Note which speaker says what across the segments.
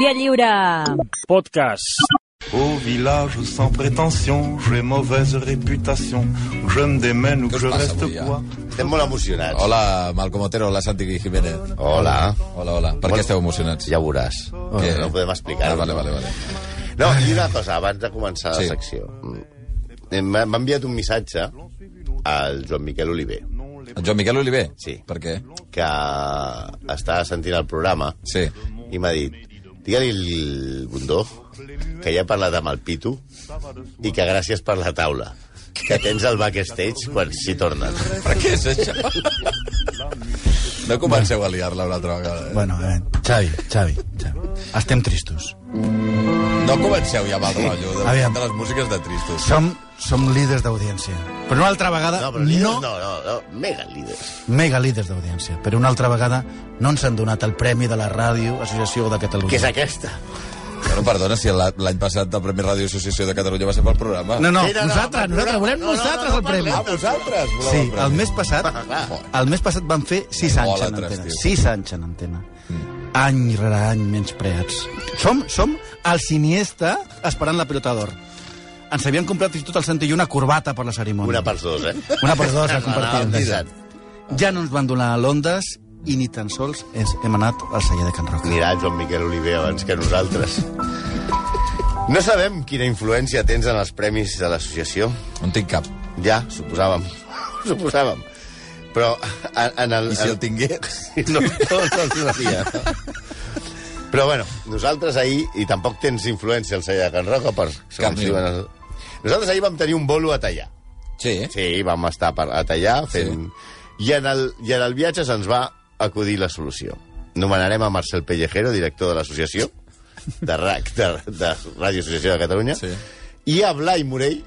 Speaker 1: Via Lliure.
Speaker 2: Podcast.
Speaker 3: Au village sans prétention, j'ai mauvaise réputation. Où je me démène ou que
Speaker 4: Què us
Speaker 3: je
Speaker 4: passa
Speaker 3: reste
Speaker 4: avui, eh? ja?
Speaker 3: quoi
Speaker 5: Estem molt emocionats.
Speaker 4: Hola, Malcom Otero, hola, Santi Jiménez.
Speaker 5: Hola.
Speaker 4: Hola, hola. Per què esteu emocionats?
Speaker 5: Ja ho veuràs.
Speaker 4: Què?
Speaker 5: No podem explicar-ho.
Speaker 4: Ah, vale, vale, vale.
Speaker 5: No, i una cosa, abans de començar la
Speaker 4: Sí.
Speaker 5: secció. Mm. M'ha m'ha enviat un missatge al Joan Miquel Oliver,
Speaker 4: En Joan Miquel Oliver?
Speaker 5: Sí.
Speaker 4: Per què?
Speaker 5: que està sentint el programa,
Speaker 4: Sí.
Speaker 5: i m'ha dit, digue-li al Bundó que ja he parlat amb el Pitu i que gràcies per la taula que tens el backstage quan s'hi tornen.
Speaker 4: Per què és això? No comenceu a liar-la una altra vegada. Eh?
Speaker 6: Bueno, a veure, Xavi, Xavi, Xavi. Estem tristos.
Speaker 4: No comenceu ja amb el rotllo de,
Speaker 6: Aviam.
Speaker 4: de les músiques de tristos.
Speaker 6: Som, som líders d'audiència. Però una altra vegada...
Speaker 5: No, però líders no, no, no, mega líders.
Speaker 6: Mega líders d'audiència. Però una altra vegada no ens han donat el premi de la Ràdio Associació de Catalunya.
Speaker 5: Que és aquesta?
Speaker 4: Bueno, perdona, si la- l'any passat el Premi Ràdio Associació de Catalunya va ser pel programa.
Speaker 6: No, no,
Speaker 5: Sí, no, no,
Speaker 6: nosaltres,
Speaker 5: no,
Speaker 6: nosaltres,
Speaker 5: no,
Speaker 6: volem
Speaker 5: no, no,
Speaker 6: nosaltres
Speaker 5: no,
Speaker 6: el
Speaker 5: no,
Speaker 6: premi.
Speaker 4: Ah, vosaltres voleu
Speaker 6: Sí,
Speaker 4: el premi.
Speaker 6: el mes passat,
Speaker 5: clar.
Speaker 6: el mes passat van fer 6 anys en
Speaker 4: Idòlatres,
Speaker 6: antena.
Speaker 4: tio.
Speaker 6: 6 anys en antena.
Speaker 5: Mm.
Speaker 6: Any rere any menys preats. Som, som el siniestra esperant la pilota d'or. Ens havien comprat fins i tot el Santi i una corbata per la cerimònia.
Speaker 5: Una per dos, eh?
Speaker 6: Una per dos la
Speaker 5: Ah,
Speaker 6: compartim.
Speaker 5: exacte.
Speaker 6: Ja no ens van donar a Londres i ni tan sols ens hem anat al celler de Can Roca.
Speaker 5: Anirà Joan Miquel Oliver abans que nosaltres. No sabem quina influència tens en els premis de l'associació.
Speaker 4: No en tinc cap.
Speaker 5: Ja, suposàvem. suposàvem. Però en, en el...
Speaker 4: I si el
Speaker 5: en-
Speaker 4: tingués?
Speaker 5: No, no, no, no, no. Però bueno, nosaltres ahir, i tampoc tens influència al celler de Can Roca, per, segons
Speaker 4: ni
Speaker 5: diuen
Speaker 4: una.
Speaker 5: els- nosaltres ahir vam tenir un bolo a tallar.
Speaker 4: Sí, eh?
Speaker 5: Sí, vam estar per, a tallar fent... I, en el, I en el viatge se'ns va acudir la solució. Nomenarem a Marcel Pellejero, director de l'associació, de RAC, de, de Ràdio Associació de Catalunya,
Speaker 4: Sí.
Speaker 5: i a Blai Morell,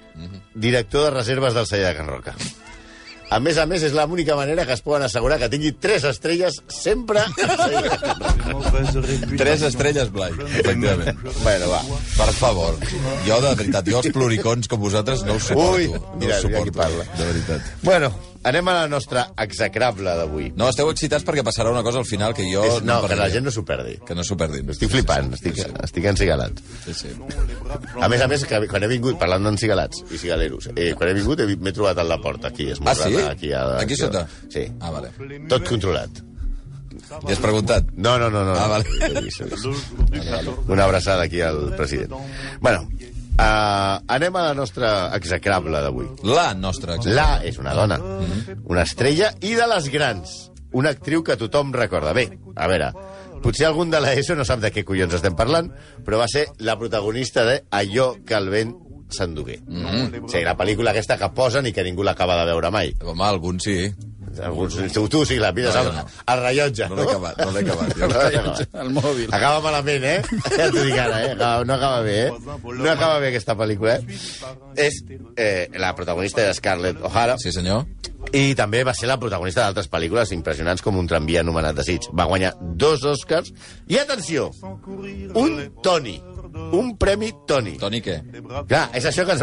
Speaker 5: director de reserves del celler de Can Roca. A més a més, és l'única manera que es poden assegurar que tingui tres estrelles sempre al celler de Can Roca.
Speaker 3: J'ai mauvaise réputation.
Speaker 4: Tres estrelles, Blai, efectivament.
Speaker 5: Bueno, va.
Speaker 4: Per favor. Jo, de veritat, jo els pluricons com vosaltres no us suporto.
Speaker 5: Ui,
Speaker 4: no
Speaker 5: mira,
Speaker 4: us
Speaker 5: mira qui
Speaker 4: suporto, eh,
Speaker 5: parla.
Speaker 4: De veritat.
Speaker 5: Bueno, anem a la nostra execrable d'avui.
Speaker 4: No, esteu excitats perquè passarà una cosa al final que jo...
Speaker 5: És- no,
Speaker 4: em
Speaker 5: que la
Speaker 4: perdia.
Speaker 5: gent no s'ho perdi.
Speaker 4: Que no s'ho perdin.
Speaker 5: Estic flipant, estic, estic encigalat.
Speaker 4: Sí, sí.
Speaker 5: A més a més, que quan he vingut, parlant d'encigalats i cigaleros, eh, quan he vingut he vi- m'he trobat a la porta aquí.
Speaker 4: Ah,
Speaker 5: esmorzant,
Speaker 4: sí?
Speaker 5: Aquí, a,
Speaker 4: Aquí sota?
Speaker 5: Sí.
Speaker 4: Ah, vale.
Speaker 5: Tot controlat.
Speaker 4: I has preguntat?
Speaker 5: No, no, no. no
Speaker 4: Ah,
Speaker 5: no.
Speaker 4: vale.
Speaker 5: He vist, he vist. Una abraçada aquí al president. Bueno, uh, anem a la nostra execrable d'avui.
Speaker 4: La nostra exacte.
Speaker 5: La és una dona, una estrella i de les grans. Una actriu que tothom recorda bé. A veure, potser algun de l'ESO no sap de què collons estem parlant, però va ser la protagonista de Allò que el vent s'endugué. Mm -hmm. Sí, la pel·lícula aquesta que posen i que ningú l'acaba de veure mai.
Speaker 4: Home, algun sí.
Speaker 5: Alguns, tu, tu sí, la mires
Speaker 4: No,
Speaker 5: al,
Speaker 4: jo no.
Speaker 5: al rellotge.
Speaker 4: No l'he acabat, no l'he acabat. Jo.
Speaker 5: No l'he acabat.
Speaker 6: El mòbil.
Speaker 5: Acaba malament, eh? Ja t'ho dic ara, eh? Acaba- No acaba bé, eh? No acaba bé aquesta pel·lícula, eh? És eh, la protagonista de Scarlett O'Hara
Speaker 4: Sí, senyor.
Speaker 5: i també va ser la protagonista d'altres pel·lícules impressionants com un tramvia anomenat Desig. Va guanyar dos Oscars i, atenció, un Tony. Un premi Tony.
Speaker 4: Toni, què?
Speaker 5: Clar, és això que ens...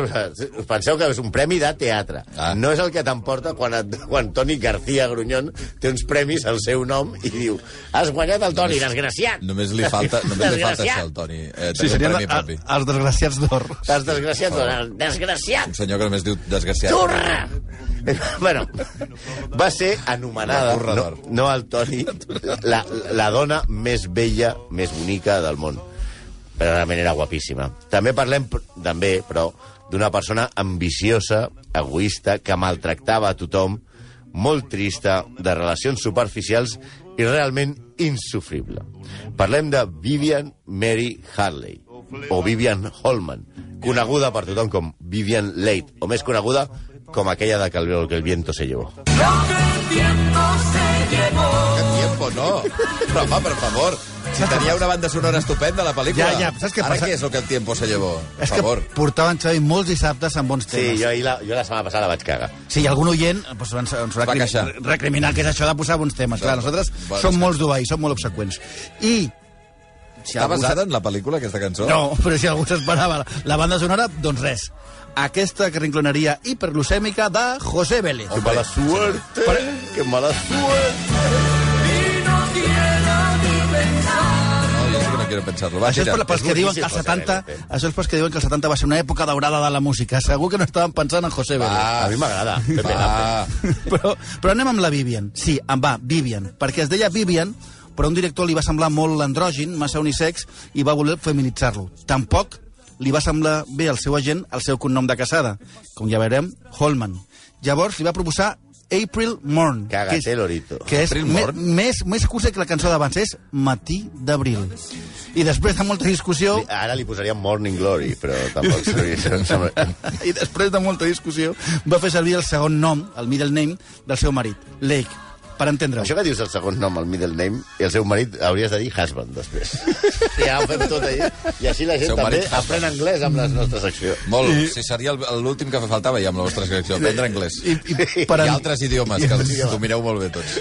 Speaker 5: us penseu que és un premi de teatre.
Speaker 4: Ah.
Speaker 5: Ah. No és el que t'emporta quan, et... quan Toni García Grunyón té uns premis al seu nom i diu has guanyat el Toni, desgraciat!
Speaker 4: Només li falta, només li falta això al
Speaker 5: desgraciat.
Speaker 4: Toni. Eh,
Speaker 6: Sí,
Speaker 4: sí,
Speaker 6: serien
Speaker 4: premi
Speaker 6: a,
Speaker 4: propi.
Speaker 6: els desgraciats d'or.
Speaker 5: T'has desgraciat, Donald. Desgraciat!
Speaker 4: Un senyor que només diu desgraciat.
Speaker 5: Turra! bueno, va ser anomenada,
Speaker 4: La turra
Speaker 5: no,
Speaker 4: d'or.
Speaker 5: no el Toni, la, la dona més vella, més bonica del món. Però realment era guapíssima. També parlem, pr- també, però, d'una persona ambiciosa, egoista, que maltractava a tothom, molt trista, de relacions superficials i realment insufrible. Parlem de Vivian Mary Harley, o Vivian Holman, coneguda per tothom com Vivian Leight, o més coneguda com aquella de que el, que el viento se llevó.
Speaker 4: Que tiempo, no. Però, home, per favor, si tenia una banda sonora estupenda, la pel·lícula.
Speaker 6: Ja, ja, saps què
Speaker 4: Ara
Speaker 6: passa?
Speaker 4: què és el que el tiempo se llevó? Per
Speaker 6: És que
Speaker 4: favor.
Speaker 6: portaven, Xavi, molts dissabtes amb bons
Speaker 5: Sí,
Speaker 6: temes.
Speaker 5: jo, ahir la, jo la setmana passada vaig cagar.
Speaker 6: Si hi ha algun oient, doncs, ens, ens haurà
Speaker 4: Va
Speaker 6: crimi-
Speaker 4: queixar.
Speaker 6: recriminat que és això de posar bons temes. Clar, nosaltres
Speaker 4: Bueno,
Speaker 6: som
Speaker 4: sí.
Speaker 6: molts d'obeir, som molt obseqüents. I... Si
Speaker 4: Està
Speaker 6: algú s'ha-
Speaker 4: basada en la pel·lícula, aquesta cançó?
Speaker 6: No, però si algú s'esperava la- la banda sonora, doncs res. Aquesta que rinclonaria hiperglucèmica de José Vélez.
Speaker 5: Que mala suerte, que mala suerte.
Speaker 4: No, jo sí que no no quiero pensarlo. Va,
Speaker 6: Això és,
Speaker 4: tira.
Speaker 6: per, pels que diuen que el
Speaker 5: boníssim,
Speaker 6: 70,
Speaker 5: José eh? Benepe.
Speaker 6: això és pels que diuen que el 70 va ser una època daurada de la música. Segur que no estaven pensant en José Vélez.
Speaker 5: Ah, A mi m'agrada. Pepe Nape.
Speaker 4: Va.
Speaker 6: Però, però anem amb la Vivian. Sí, em va, Vivian. Perquè es deia Vivian, però a un director li va semblar molt andrògin, massa unisex, i va voler feminitzar-lo. Tampoc li va semblar bé al seu agent el seu cognom de casada, com ja veurem, Holman. Llavors li va proposar April Morn.
Speaker 5: Cágate,
Speaker 6: que és-
Speaker 5: eh, lorito.
Speaker 6: Que és
Speaker 4: April
Speaker 6: me,
Speaker 4: Morn?
Speaker 6: més, més cursa que la cançó d'abans, és Matí d'abril. I després de molta discussió...
Speaker 5: Ara li posaria Morning Glory, però tampoc sabria. em sembla-
Speaker 6: i després de molta discussió va fer servir el segon nom, el middle name, del seu marit, Lake, per entendre-ho.
Speaker 5: Això que dius el segon nom, el middle name, i el seu marit hauries de dir husband, després. Ja ho fem tot ahí. I així la gent
Speaker 4: Seu
Speaker 5: també
Speaker 4: marit husband.
Speaker 5: aprèn anglès amb la nostra secció.
Speaker 4: Molt, I... si seria el- l'últim que fa faltava ja amb la vostra selecció, aprendre anglès. I,
Speaker 6: I, i per,
Speaker 4: I
Speaker 6: en,
Speaker 4: altres idiomes, que els domineu molt bé tots.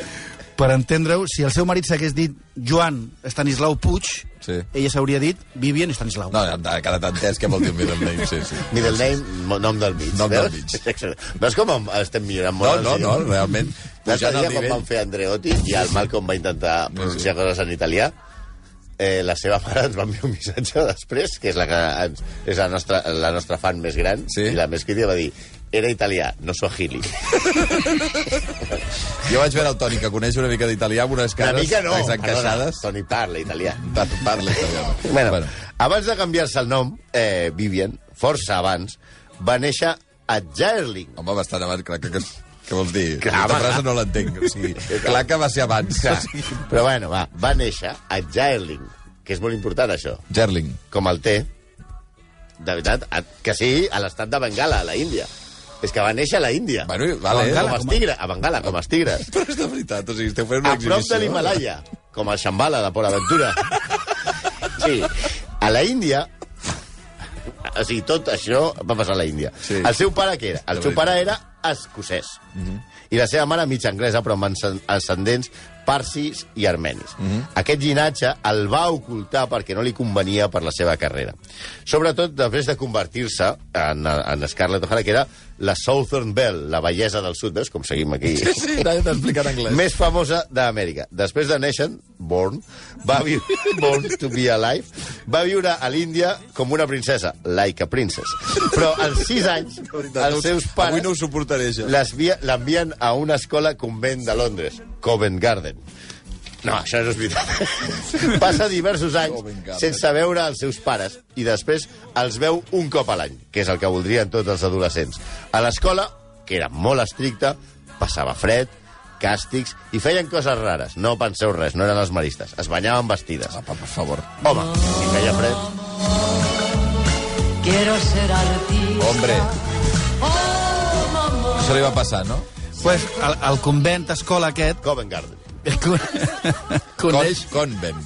Speaker 6: per entendre-ho, si el seu marit s'hagués dit Joan Stanislau Puig,
Speaker 4: Sí.
Speaker 6: ella s'hauria dit Vivian Stanislau.
Speaker 4: No, ja ha quedat entès que vol dir un middle name, sí, sí.
Speaker 5: Middle name, mo- nom del mig.
Speaker 4: Nom del
Speaker 5: veus?
Speaker 4: mig.
Speaker 5: Excel·lent. Veus com em- estem millorant
Speaker 4: No,
Speaker 5: molt?
Speaker 4: no,
Speaker 5: els
Speaker 4: no,
Speaker 5: idiomes?
Speaker 4: realment.
Speaker 5: L'altre
Speaker 4: Pujant
Speaker 5: dia,
Speaker 4: al
Speaker 5: quan van
Speaker 4: nivell...
Speaker 5: fer Andreotti, i el Malcolm va intentar pronunciar coses en italià, eh, la seva mare ens va enviar un missatge després, que és la, que ens, és la, nostra, la nostra fan més gran,
Speaker 4: Sí.
Speaker 5: i la més crítica va dir era italià, no suahili.
Speaker 4: Jo vaig veure el Toni, que coneix una mica d'italià, amb unes
Speaker 5: Una
Speaker 4: cares
Speaker 5: mica no.
Speaker 4: desencaixades.
Speaker 5: Perdona, Toni parla italià.
Speaker 4: Pa- Parla italià.
Speaker 5: Bueno, bueno. abans de canviar-se el nom, eh, Vivian, força abans, va néixer a Gerling.
Speaker 4: Home, bastant abans, clar que... que què vols dir?
Speaker 5: Clar,
Speaker 4: Aquesta
Speaker 5: home,
Speaker 4: frase
Speaker 5: clar.
Speaker 4: no l'entenc. O sigui, clar que va ser abans.
Speaker 5: Clar.
Speaker 4: O sigui,
Speaker 5: Però bueno, va, va néixer a Gerling, que és molt important, això.
Speaker 4: Gerling.
Speaker 5: Com el té, de veritat, a, que sí, a l'estat de Bengala, a la Índia. És que va néixer a la Índia.
Speaker 4: Bueno, vale.
Speaker 5: com,
Speaker 4: Bengala,
Speaker 5: els tigres, a Bengala, com els tigres.
Speaker 4: Però és de veritat, o sigui, esteu fent una
Speaker 5: A prop
Speaker 4: exhibició.
Speaker 5: de l'Himalaya, com el Shambhala de Port Aventura. Sí, a la Índia... O sigui, tot això va passar a la Índia.
Speaker 4: Sí.
Speaker 5: Sí. El seu pare què era? El
Speaker 4: De veritat.
Speaker 5: seu
Speaker 4: Mhm.
Speaker 5: pare era escocès. I la seva mare mig anglesa, però amb ascen- ascendents parsis i armenis.
Speaker 4: Mhm.
Speaker 5: Aquest llinatge el va ocultar perquè no li convenia per la seva carrera. Sobretot després de convertir-se en, en Scarlett O'Hara, que era la Southern Belle, la bellesa del sud. Veus com seguim aquí?
Speaker 4: Sí, sí, t'ha t'ha explicat en anglès.
Speaker 5: més famosa d'Amèrica. Després de néixer, Born, va viure, Born to be alive, va viure a l'Índia com una princesa, like a princess. Però als 6 anys,
Speaker 4: De veritat, no
Speaker 5: els
Speaker 4: us-
Speaker 5: seus
Speaker 4: Avui
Speaker 5: pares
Speaker 4: no ho suportaré, això.
Speaker 5: l'esvia- l'envien a una escola convent de Londres, Covent Garden. No, això no és veritat. Passa diversos anys
Speaker 4: Covent Garden.
Speaker 5: sense veure els seus pares i després els veu un cop a l'any, que és el que voldrien tots els adolescents. A l'escola, que era molt estricta, passava fred, càstigs i feien coses rares. No penseu res, no eren els maristes. Es banyaven vestides.
Speaker 4: Apa, Ah, per favor.
Speaker 5: Home, si feia fred...
Speaker 1: Quiero ser artista.
Speaker 4: Hombre,
Speaker 1: Oh, mamá.
Speaker 4: això li va passar, no?
Speaker 6: Pues, el, el convent escola aquest
Speaker 5: Covent Garden.
Speaker 6: con- coneix,
Speaker 4: Con, convent.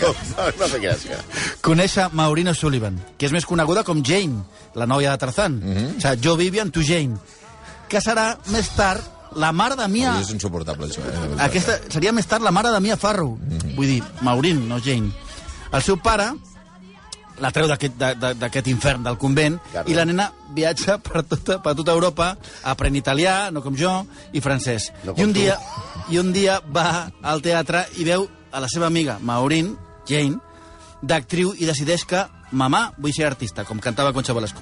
Speaker 5: Com? No, no sé què és que...
Speaker 6: coneix a Maureen O'Sullivan, que és més coneguda com Jane, la noia de Tarzan. Mm -hmm. O sigui, jo Vivian, tu Jane. Que serà més tard la mare de Mia...
Speaker 4: És insuportable, això.
Speaker 5: Ah.
Speaker 4: Eh? de veritat.
Speaker 6: Aquesta seria més tard la mare de Mia Farrow.
Speaker 5: Mhm.
Speaker 6: Vull dir, Maureen, no Jane. El seu pare la treu d'aquest de- de- d'aquest infern del convent
Speaker 5: Carles.
Speaker 6: i la nena viatja per tota, per tota Europa, aprèn italià, no com jo, i francès.
Speaker 5: No com
Speaker 6: I un
Speaker 5: tu.
Speaker 6: dia i un dia va al teatre i veu a la seva amiga Maureen, Jane, d'actriu i decideix que mamà vull ser artista, com cantava Concha Velasco.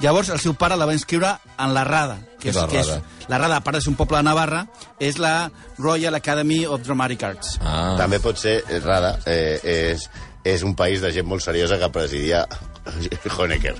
Speaker 6: Llavors el seu pare la va inscriure en la Rada,
Speaker 4: Què
Speaker 6: que és,
Speaker 4: és la
Speaker 6: que és
Speaker 4: Rada?
Speaker 6: la Rada, a part de ser un poble de Navarra, és la Royal Academy of Dramatic Arts.
Speaker 4: Ah.
Speaker 5: També pot ser, és rara, eh, és, és un país de gent molt seriosa que presidia Honecker.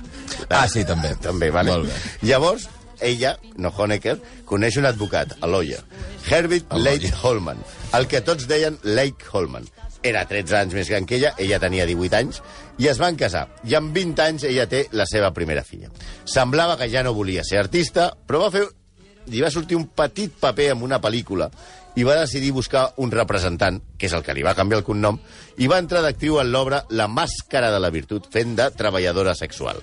Speaker 4: Ah, sí, també.
Speaker 5: També, vale.
Speaker 4: Molt bé.
Speaker 5: Llavors, ella, no Honecker, coneix un advocat, Aloya, Herbert
Speaker 4: Aloya.
Speaker 5: Lake Holman, el que tots deien Lake Holman. Era 13 anys més gran que ella, ella tenia 18 anys, i es van casar. I amb 20 anys ella té la seva primera filla. Semblava que ja no volia ser artista, però va fer... Li va sortir un petit paper en una pel·lícula i va decidir buscar un representant, que és el que li va canviar el cognom, i va entrar d'actriu en l'obra La màscara de la virtut, fent de treballadora sexual.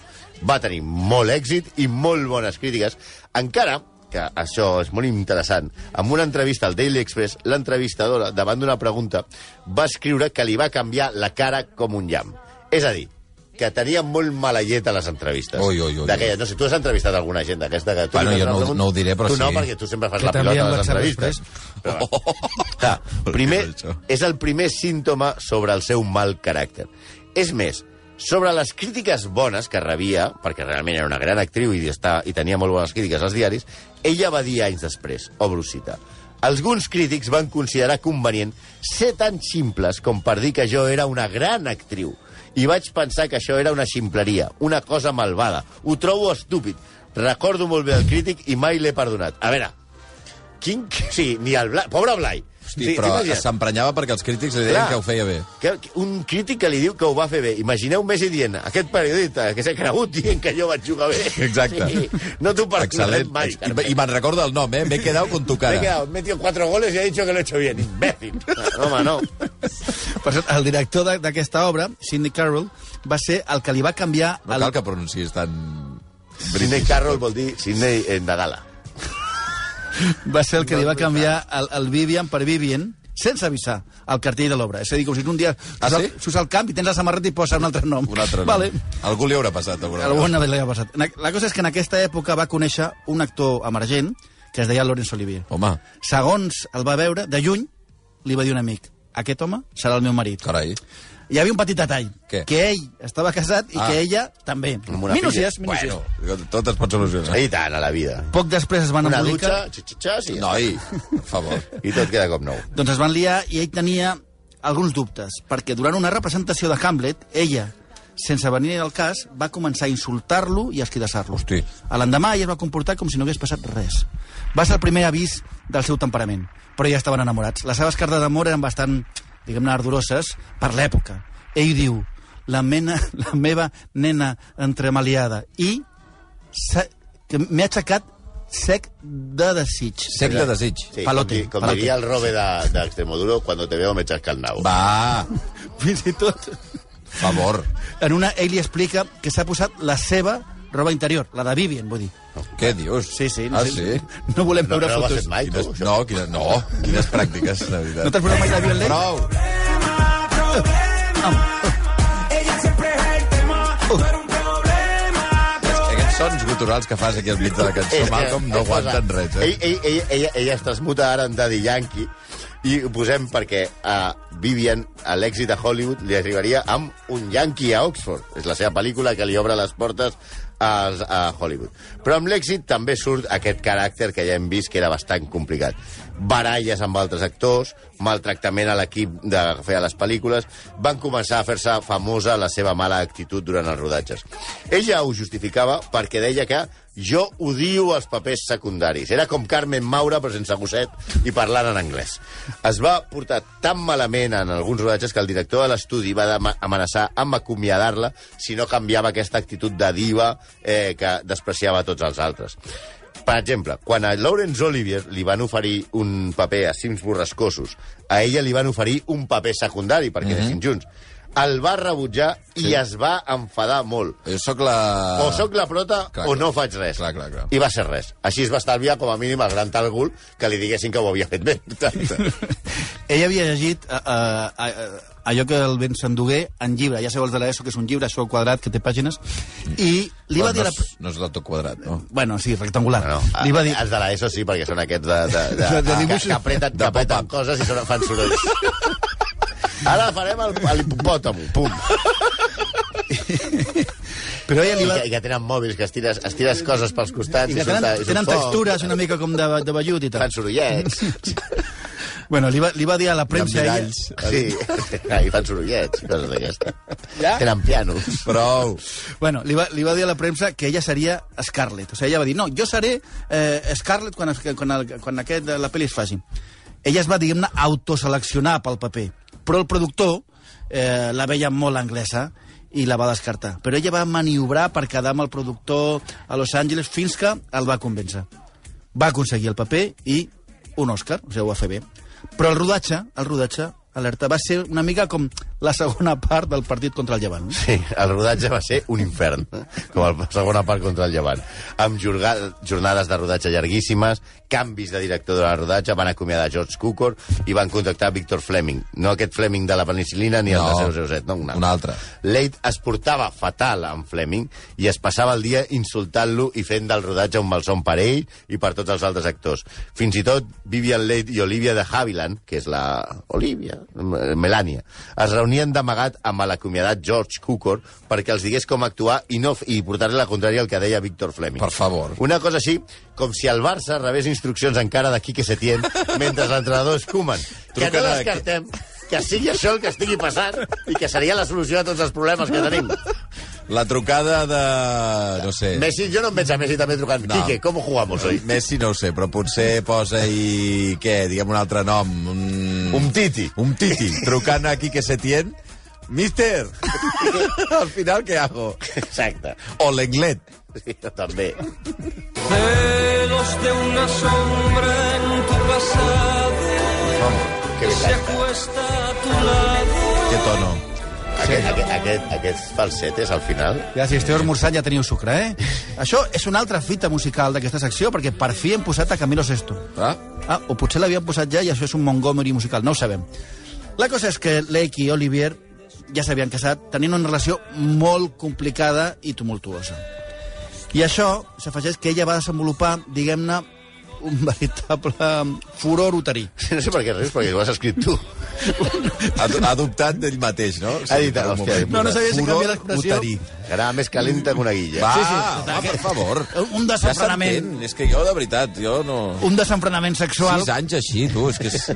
Speaker 5: Va tenir molt èxit i molt bones crítiques, encara que això és molt interessant. En una entrevista al Daily Express, l'entrevistadora, davant d'una pregunta, va escriure que li va canviar la cara com un llamp. És a dir, que tenia molt mala llet a les entrevistes.
Speaker 4: Ui, ui, ui,
Speaker 5: D'aquelles, no sé, tu has entrevistat alguna gent d'aquesta que... tu
Speaker 4: Bueno,
Speaker 5: li fas
Speaker 4: jo
Speaker 5: una
Speaker 4: no-
Speaker 5: pregunta-
Speaker 4: no ho diré, però
Speaker 5: tu no,
Speaker 4: sí.
Speaker 5: perquè tu sempre fas
Speaker 6: Que
Speaker 5: la
Speaker 6: t'envien
Speaker 5: pilota a les
Speaker 6: WhatsApp
Speaker 5: entrevistes. Però, Clar,
Speaker 4: Horrible,
Speaker 5: primer,
Speaker 4: això.
Speaker 5: és el primer símptoma sobre el seu mal caràcter. És més, sobre les crítiques bones que rebia, perquè realment era una gran actriu i, està, i tenia molt bones crítiques als diaris, ella va dir anys després, obro cita, alguns crítics van considerar convenient ser tan simples com per dir que jo era una gran actriu. I vaig pensar que això era una ximpleria, una cosa malvada. Ho trobo estúpid. Recordo molt bé el crític i mai l'he perdonat. A veure, quin... Sí, ni el Blai... Pobre Blai.
Speaker 4: Hosti,
Speaker 5: Sí,
Speaker 4: però
Speaker 5: t'imagines?
Speaker 4: s'emprenyava perquè els crítics li deien
Speaker 5: Clar.
Speaker 4: que ho feia bé.
Speaker 5: Que, que un crític que li diu que ho va fer bé. Imagineu Messi dient, aquest periodista que s'ha cregut dient que jo vaig jugar bé.
Speaker 4: Exacte.
Speaker 5: Sí, no t'ho perdonarem
Speaker 4: Excel·lent.
Speaker 5: mai.
Speaker 4: I, i me'n recordo el nom, eh? M'he quedat con tu
Speaker 5: Me he
Speaker 4: cara.
Speaker 5: quedado, metido cuatro goles y ha dicho que lo he hecho bien. Imbécil. Home, no.
Speaker 6: Per cert, el director de- d'aquesta obra, Sidney Carroll, va ser el que li va canviar...
Speaker 4: No
Speaker 6: el...
Speaker 4: cal que pronuncis tan...
Speaker 5: Sidney Carroll vol dir Sidney eh, Nadala.
Speaker 6: va ser el que li va canviar el, el Vivian per Vivian sense avisar el cartell de l'obra. És a dir, com si un dia
Speaker 4: Ah,
Speaker 6: s'us-
Speaker 4: sí?
Speaker 6: s'us al camp i tens la samarreta i posa un altre nom.
Speaker 4: Un altre nom.
Speaker 6: Vale.
Speaker 4: Algú li haurà passat
Speaker 5: Eh.
Speaker 4: alguna
Speaker 6: Alguna vegada li ha passat. Na- La cosa és que en aquesta època va conèixer un actor emergent que es deia Laurence Olivier.
Speaker 4: Home,
Speaker 6: Segons el va veure, de lluny, li va dir un amic, aquest home serà el meu marit.
Speaker 4: carai.
Speaker 6: Hi havia un petit detall,
Speaker 4: Què?
Speaker 6: que ell estava casat i
Speaker 4: Ah.
Speaker 6: que ella també.
Speaker 5: Amb una
Speaker 6: Minúcies,
Speaker 5: filla.
Speaker 6: minúcies.
Speaker 4: Bueno, tot es pot solucionar.
Speaker 5: I tant, a la vida.
Speaker 6: Poc després es van
Speaker 5: Una
Speaker 6: embolicar...
Speaker 5: dutxa, xixixas i... No.
Speaker 4: Noi, per favor.
Speaker 5: I tot queda com nou.
Speaker 6: Doncs es van liar i ell tenia alguns dubtes, perquè durant una representació de Hamlet, ella, sense venir al cas, va començar a insultar-lo i a esquidassar-lo.
Speaker 4: Hosti.
Speaker 6: A L'endemà ella es va comportar com si no hagués passat res. Va ser el primer avís del seu temperament, però ja estaven enamorats. Les seves cartes d'amor eren bastant, diguem-ne, ardoroses per l'època. Ell diu, la, mena, la meva nena entremaliada, i s'ha- que m'he aixecat sec de desig.
Speaker 4: Sec de desig.
Speaker 5: Sí,
Speaker 6: Palote,
Speaker 5: com, di- com
Speaker 6: palote.
Speaker 5: diria el robe de- d'Extremoduro, quan te veo me echas el nabo.
Speaker 4: Va,
Speaker 6: Fins i tot
Speaker 4: per favor.
Speaker 6: En una, ell li explica que s'ha posat la seva roba interior, la de Vivian, vull dir.
Speaker 4: Què dius?
Speaker 6: no,
Speaker 4: ah,
Speaker 6: sé,
Speaker 4: sí?
Speaker 6: no volem
Speaker 5: No, no
Speaker 6: veure
Speaker 5: ho has
Speaker 6: fotos.
Speaker 5: fet mai, tu,
Speaker 4: Quines,
Speaker 5: això.
Speaker 4: no, quines, no, quines pràctiques, de veritat.
Speaker 6: No t'has posat mai la Vivian Leigh?
Speaker 4: Prou. És que aquests sons guturals que fas aquí al mig de la cançó,
Speaker 5: És que-
Speaker 4: Malcolm, no
Speaker 5: és cosa-
Speaker 4: aguanten res, eh?
Speaker 5: Ell, ell, ell, ella, ella es transmuta ara en Daddy Yankee i ho posem perquè a Vivian, a l'èxit a Hollywood, li arribaria amb un Yankee a Oxford. És la seva pel·lícula que li obre les portes als, a Hollywood. Però amb l'èxit també surt aquest caràcter que ja hem vist que era bastant complicat. Baralles amb altres actors, maltractament a l'equip de fer les pel·lícules, van començar a fer-se famosa la seva mala actitud durant els rodatges. Ella ho justificava perquè deia que jo odio els papers secundaris. Era com Carmen Maura, però sense gosset i parlant en anglès. Es va portar tan malament en alguns rodatges que el director de l'estudi va dema- amenaçar amb acomiadar-la si no canviava aquesta actitud de diva eh, que despreciava tots els altres. Per exemple, quan a Laurence Olivier li van oferir un paper a Cims Borrascosos, a ella li van oferir un paper secundari, perquè mm -hmm. anessin junts. El va rebutjar sí. i es va enfadar molt
Speaker 4: Jo sóc la...
Speaker 6: Ah,
Speaker 5: o sóc la prota
Speaker 4: Clar,
Speaker 5: clar, o
Speaker 4: clar.
Speaker 5: no faig res.
Speaker 4: Clar, clar, clar.
Speaker 5: I va ser res. Així es va estalviar, com a mínim, el gran Targul que li diguessin que ho havia fet bé.
Speaker 6: Ell havia llegit eh, eh, eh, allò que el Vincent Duguer en llibre, ja sabeu els de l'ESO, que és un llibre, això al quadrat, que té pàgines, i li
Speaker 4: Però
Speaker 6: va dir...
Speaker 4: no,
Speaker 6: La...
Speaker 4: és, no és l'auto quadrat, no?
Speaker 6: Bueno, sí, rectangular.
Speaker 5: No,
Speaker 6: li va dir...
Speaker 5: Els Ah, de l'ESO sí, perquè són aquests de, de, de,
Speaker 6: De- de
Speaker 5: que-
Speaker 6: dibuixos.
Speaker 5: que, apreten, que apreten coses i són, fan sorolls. Ara farem el- a l'hipopòtamo, pum.
Speaker 6: Però ella
Speaker 5: I
Speaker 6: li va...
Speaker 5: que, I que tenen mòbils, que estires, estires coses pels costats.
Speaker 6: I que
Speaker 5: surt-
Speaker 6: tenen,
Speaker 5: surt
Speaker 6: tenen
Speaker 5: foc,
Speaker 6: textures una mica com de, de vellut i tal.
Speaker 5: Fan sorollets.
Speaker 6: Bueno, li va, li va dir a la premsa... ella-
Speaker 4: miralls.
Speaker 5: Sí, i fan sorollets, coses d'aquestes.
Speaker 6: Ja?
Speaker 5: Tenen pianos.
Speaker 4: Prou.
Speaker 6: Bueno, li va, li va dir a la premsa que ella seria Scarlett. O sigui, ella va dir, no, jo seré eh, Scarlett quan, es- quan, el, quan aquest, la pel·li es faci. Ella es va, diguem-ne, autoseleccionar pel paper. Però el productor eh, la veia molt anglesa i la va descartar. Però ella va maniobrar per quedar amb el productor a Los Angeles fins que el va convèncer. Va aconseguir el paper i un Òscar, o sigui, ho va fer bé. Però el rodatge, el rodatge, alerta, va ser una mica com la segona part del partit contra el Llevant.
Speaker 5: Sí, el rodatge va ser un infern, com el segona part contra el Llevant. Amb jorga- jornades de rodatge llarguíssimes, canvis de director de la rodatge, van acomiadar George Cukor i van contractar Victor Fleming. No aquest Fleming de la penicilina ni el
Speaker 4: No,
Speaker 5: de 007, no, un altre.
Speaker 4: un altre.
Speaker 5: Late es portava fatal amb Fleming i es passava el dia insultant-lo i fent del rodatge un malson per ell i per tots els altres actors. Fins i tot Vivian Late i Olivia de Havilland, que és la... Olivia? eh, Melania. Es reunien reunien d'amagat amb l'acomiadat George Cukor perquè els digués com actuar i, no, i portar-li la contrària al que deia Víctor Fleming.
Speaker 4: Per favor.
Speaker 5: Una cosa així com si el Barça rebés instruccions encara de Quique Setién mentre l'entrenador és Koeman. Que
Speaker 4: Truca
Speaker 5: no
Speaker 4: de-
Speaker 5: descartem que sigui això el que estigui passant i que seria la solució a tots els problemes que tenim.
Speaker 4: La trucada de... no sé...
Speaker 5: Messi, jo no em veig a Messi també
Speaker 4: No.
Speaker 5: trucant. Eh. No. Quique, com jugamos hoy?
Speaker 4: Messi no ho sé, però potser posa-hi... què? Diguem un altre nom. Un...
Speaker 5: Un titi.
Speaker 4: Un titi. Trucant a Quique Setién. Mister! Al final, què hago?
Speaker 5: Exacte.
Speaker 4: O l'englet.
Speaker 5: Sí, també.
Speaker 2: Celos de una sombra en tu pasado
Speaker 5: Que bé,
Speaker 2: se acuesta a tu lado.
Speaker 4: Que tono.
Speaker 5: aquest, aquest, aquest, aquests falsetes al final...
Speaker 6: Ja, si esteu esmorzant ja teniu sucre, eh? Això és una altra fita musical d'aquesta secció, perquè per fi hem posat a Camilo Sesto.
Speaker 4: Ah?
Speaker 6: Ah, o potser l'havien posat ja i això és un Montgomery musical, no ho sabem. La cosa és que Lake i Olivier ja s'havien casat tenint una relació molt complicada i tumultuosa. I això s'afegeix que ella va desenvolupar, diguem-ne, un veritable furor uterí.
Speaker 5: No sé per què res, perquè ho has escrit tu.
Speaker 4: Ha, ha dubtat d'ell mateix, no?
Speaker 5: Ha dit,
Speaker 4: per un
Speaker 5: hòstia,
Speaker 4: moment.
Speaker 5: no, no
Speaker 6: sabia si
Speaker 4: Furor
Speaker 6: canviar l'expressió.
Speaker 4: uterí.
Speaker 5: Era més calenta que una guilla.
Speaker 4: Va,
Speaker 6: Sí,
Speaker 4: sí,
Speaker 6: sí.
Speaker 4: sí. va, per favor.
Speaker 6: Un
Speaker 4: Ja
Speaker 6: desenfrenament.
Speaker 4: s'entén. És que jo, de veritat, jo no...
Speaker 6: Un desenfrenament sexual.
Speaker 4: Sis anys així, tu, és que és...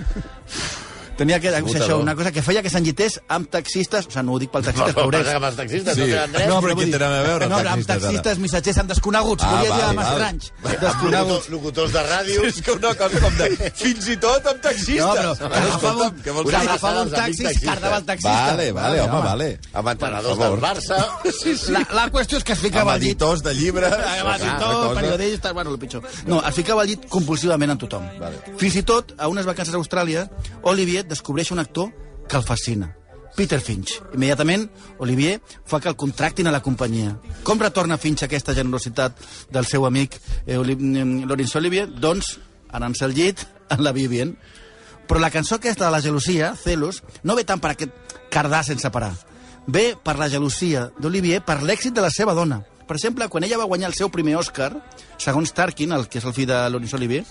Speaker 6: Tenia que ser
Speaker 4: Putador.
Speaker 6: això, una cosa que feia que s'enllités amb taxistes, o sigui, no ho dic pel
Speaker 5: No,
Speaker 6: taxista,
Speaker 5: no,
Speaker 6: pobrets.
Speaker 5: passa que amb els taxistes
Speaker 4: Sí.
Speaker 5: no tenen res.
Speaker 4: No, però
Speaker 6: vull
Speaker 4: què
Speaker 6: dir-
Speaker 4: tenen a veure,
Speaker 6: No, amb
Speaker 4: taxistes, ara?
Speaker 6: taxistes, missatgers amb desconeguts.
Speaker 4: Ah,
Speaker 6: Volia dir
Speaker 4: val,
Speaker 6: amb
Speaker 4: val.
Speaker 6: estranys.
Speaker 5: Locutor-
Speaker 6: Desconeguts.
Speaker 5: Locutors de ràdio.
Speaker 4: És que una cosa com de... Fins i tot amb taxistes.
Speaker 6: No, però agafava
Speaker 4: escolta'm,
Speaker 6: un,
Speaker 4: què
Speaker 5: vols dir?
Speaker 6: agafava
Speaker 5: Els
Speaker 6: un
Speaker 5: amics
Speaker 6: taxi i
Speaker 5: taxistes.
Speaker 6: cardava el taxista.
Speaker 4: Vale, vale, home, vale.
Speaker 5: Amb entrenadors
Speaker 4: Per
Speaker 5: del
Speaker 4: favor.
Speaker 5: Barça.
Speaker 6: La, la qüestió és que Ah, es
Speaker 4: Amb
Speaker 6: ficava al llit.
Speaker 4: editors de llibres.
Speaker 6: Amb editor, periodista, bueno, el pitjor. No, es ficava al llit compulsivament amb tothom.
Speaker 4: Vale.
Speaker 6: Fins i tot, a unes vacances a Austràlia, Olivier descobreix un actor que el fascina. Peter Finch. Immediatament, Olivier fa que el contractin a la companyia. Com retorna Finch a aquesta generositat del seu amic eh, Oli- eh, Laurence Olivier? Doncs, anant-se al llit, en la Vivien. Però la cançó aquesta de la gelosia, Celos, no ve tant per aquest cardar sense parar. Ve per la gelosia d'Olivier per l'èxit de la seva dona. Per exemple, quan ella va guanyar el seu primer Oscar, segons Tarkin, el que és el fill de Laurence Olivier,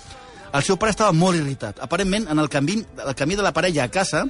Speaker 6: el seu pare estava molt irritat. Aparentment, en el camí, el camí de la parella a casa,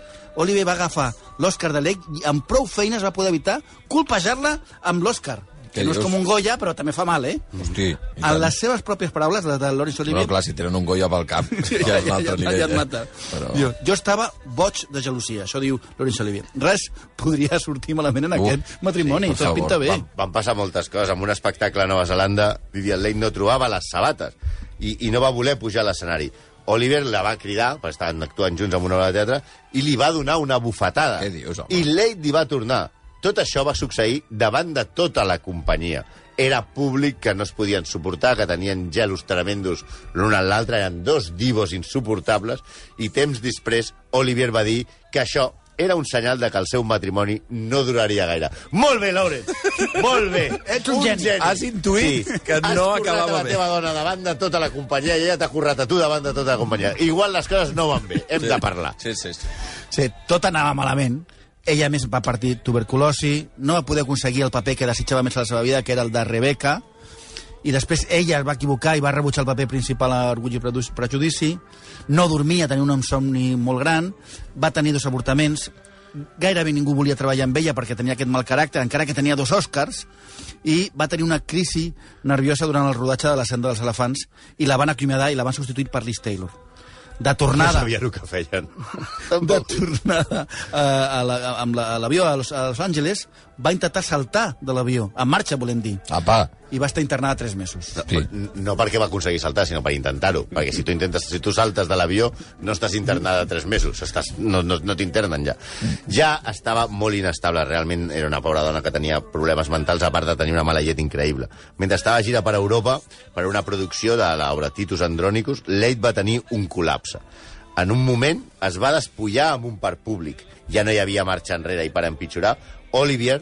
Speaker 6: Olivier va agafar l'Oscar de l'Ec i amb prou feines va poder evitar colpejar-la amb l'Oscar.
Speaker 4: Què
Speaker 6: Que no és
Speaker 4: dius?
Speaker 6: com un Goya, però també fa mal, eh?
Speaker 4: Hosti, i
Speaker 6: En
Speaker 4: tant.
Speaker 6: les seves pròpies paraules, les de Laurence Olivier,
Speaker 4: Però clar, si tenen un goia pel cap, ja, ja és un altre nivell.
Speaker 6: ja et mata.
Speaker 4: Eh?
Speaker 6: Però...
Speaker 4: Però...
Speaker 6: Jo, jo estava boig de gelosia, això diu Laurence Olivier. Res podria sortir malament en
Speaker 4: Uh,
Speaker 6: aquest matrimoni,
Speaker 4: sí, per
Speaker 6: sí, tot
Speaker 4: favor,
Speaker 6: pinta bé.
Speaker 4: va.
Speaker 5: Van passar moltes coses. Amb un espectacle a Nova Zelanda, Vivian Leigh no trobava les sabates i, i no va voler pujar a l'escenari. Oliver la va cridar, perquè estaven actuant junts en una obra de teatre, i li va donar una bufetada.
Speaker 4: Què dius, home?
Speaker 5: I Leigh li va tornar. Tot això va succeir davant de tota la companyia. Era públic que no es podien suportar, que tenien gelos tremendos l'un a l'altre, eren dos divos insuportables, i temps després Olivier va dir que això era un senyal de que el seu matrimoni no duraria gaire. Molt bé, Laurent! Molt bé!
Speaker 6: Ets un geni.
Speaker 4: Has intuït que
Speaker 5: Has
Speaker 4: no
Speaker 5: currat a
Speaker 4: acabava
Speaker 5: la
Speaker 4: bé.
Speaker 5: teva dona davant de tota la companyia i ella t'ha currat a tu davant de tota la companyia. Igual les coses no van bé. Hem de parlar.
Speaker 4: Sí, sí, sí.
Speaker 6: Sí, tot anava malament. Ella, a més, va partir tuberculosi, no va poder aconseguir el paper que desitjava més a la seva vida, que era el de Rebeca, i després ella es va equivocar i va rebutjar el paper principal a Orgull i Predu- Prejudici, no dormia, tenia un insomni molt gran, va tenir dos avortaments, gairebé ningú volia treballar amb ella perquè tenia aquest mal caràcter, encara que tenia dos Oscars, i va tenir una crisi nerviosa durant el rodatge de la senda dels elefants i la van acomiadar i la van substituir per Liz Taylor. De
Speaker 5: No
Speaker 6: tornada
Speaker 5: sabien el que feien.
Speaker 6: de tornada a, a, la, amb la, a l'avió a Los, a Los Angeles, va intentar saltar de l'avió, en marxa, volem dir,
Speaker 4: Apa.
Speaker 6: i va estar internada tres mesos.
Speaker 4: Sí.
Speaker 5: No perquè va aconseguir saltar, sinó per intentar-ho. Perquè si tu, intentes, si tu saltes de l'avió, no estàs internada tres mesos. Estàs, no no, no t'internen ja. Ja estava molt inestable. Realment era una pobra dona que tenia problemes mentals, a part de tenir una mala llet increïble. Mentre estava a gira per Europa, per una producció de l'obra Titus Andronicus, Leit va tenir un col·lapse. En un moment es va despullar amb un parc públic. Ja no hi havia marxa enrere i per empitjorar, Olivier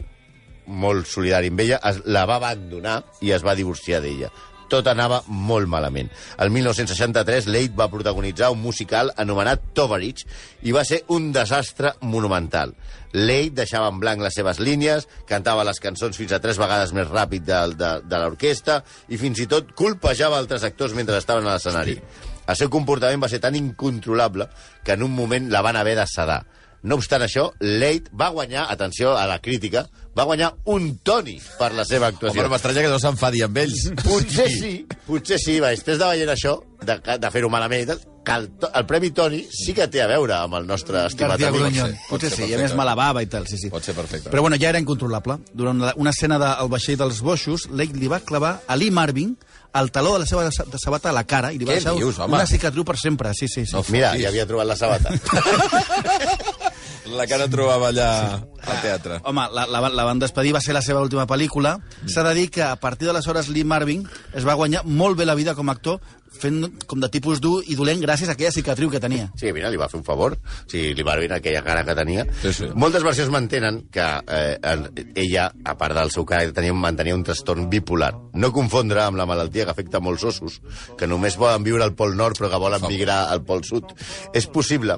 Speaker 5: molt solidari amb ella, es, la va abandonar i es va divorciar d'ella. Tot anava molt malament. El 1963, Leit va protagonitzar un musical anomenat Tovarich i va ser un desastre monumental. Leit deixava en blanc les seves línies, cantava les cançons fins a tres vegades més ràpid de, de, de l'orquestra i fins i tot colpejava altres actors mentre estaven a l'escenari. El seu comportament va ser tan incontrolable que en un moment la van haver de sedar. No obstant això, Late va guanyar, atenció a la crítica, va guanyar un Tony per la seva
Speaker 4: Home,
Speaker 5: actuació.
Speaker 4: no m'estranya que no s'enfadi amb ells.
Speaker 5: Potser sí, potser sí, va, després de veient això, de, de fer-ho malament i tal, que el, to- el Premi Tony sí que té a veure amb el nostre estimat
Speaker 6: García
Speaker 5: amic.
Speaker 6: Grunyón.
Speaker 4: pot
Speaker 6: Potser
Speaker 4: ser
Speaker 6: sí, i a
Speaker 4: perfecte.
Speaker 6: més me la bava i tal, sí, sí.
Speaker 4: Pot ser perfecte.
Speaker 6: Però bueno, ja era incontrolable. Durant la- una escena del vaixell dels boixos, Lake li va clavar a Lee Marvin el taló de la seva sa- de sabata a la cara i li va
Speaker 4: Què
Speaker 6: deixar
Speaker 4: dius, home?
Speaker 6: una cicatriu per sempre, sí, sí. sí.
Speaker 4: No
Speaker 5: Mira,
Speaker 4: fotis.
Speaker 5: ja havia trobat la sabata.
Speaker 4: La cara trobava allà al teatre.
Speaker 6: Home, la, la, van- la van despedir, va ser la seva última pel·lícula. S'ha de dir que a partir d'aleshores Lee Marvin es va guanyar molt bé la vida com a actor, fent com de tipus dur i dolent gràcies a aquella cicatriu que tenia.
Speaker 5: Sí, mira, li va fer un favor. Sí, li va arruïnar aquella cara que tenia.
Speaker 4: Sí, sí.
Speaker 5: Moltes versions mantenen que eh, el- ella, a part del seu caràcter, tenia, mantenia un trastorn bipolar. No confondre amb la malaltia que afecta molts ossos, que només poden viure al Pol Nord però que volen migrar al Pol Sud. És possible.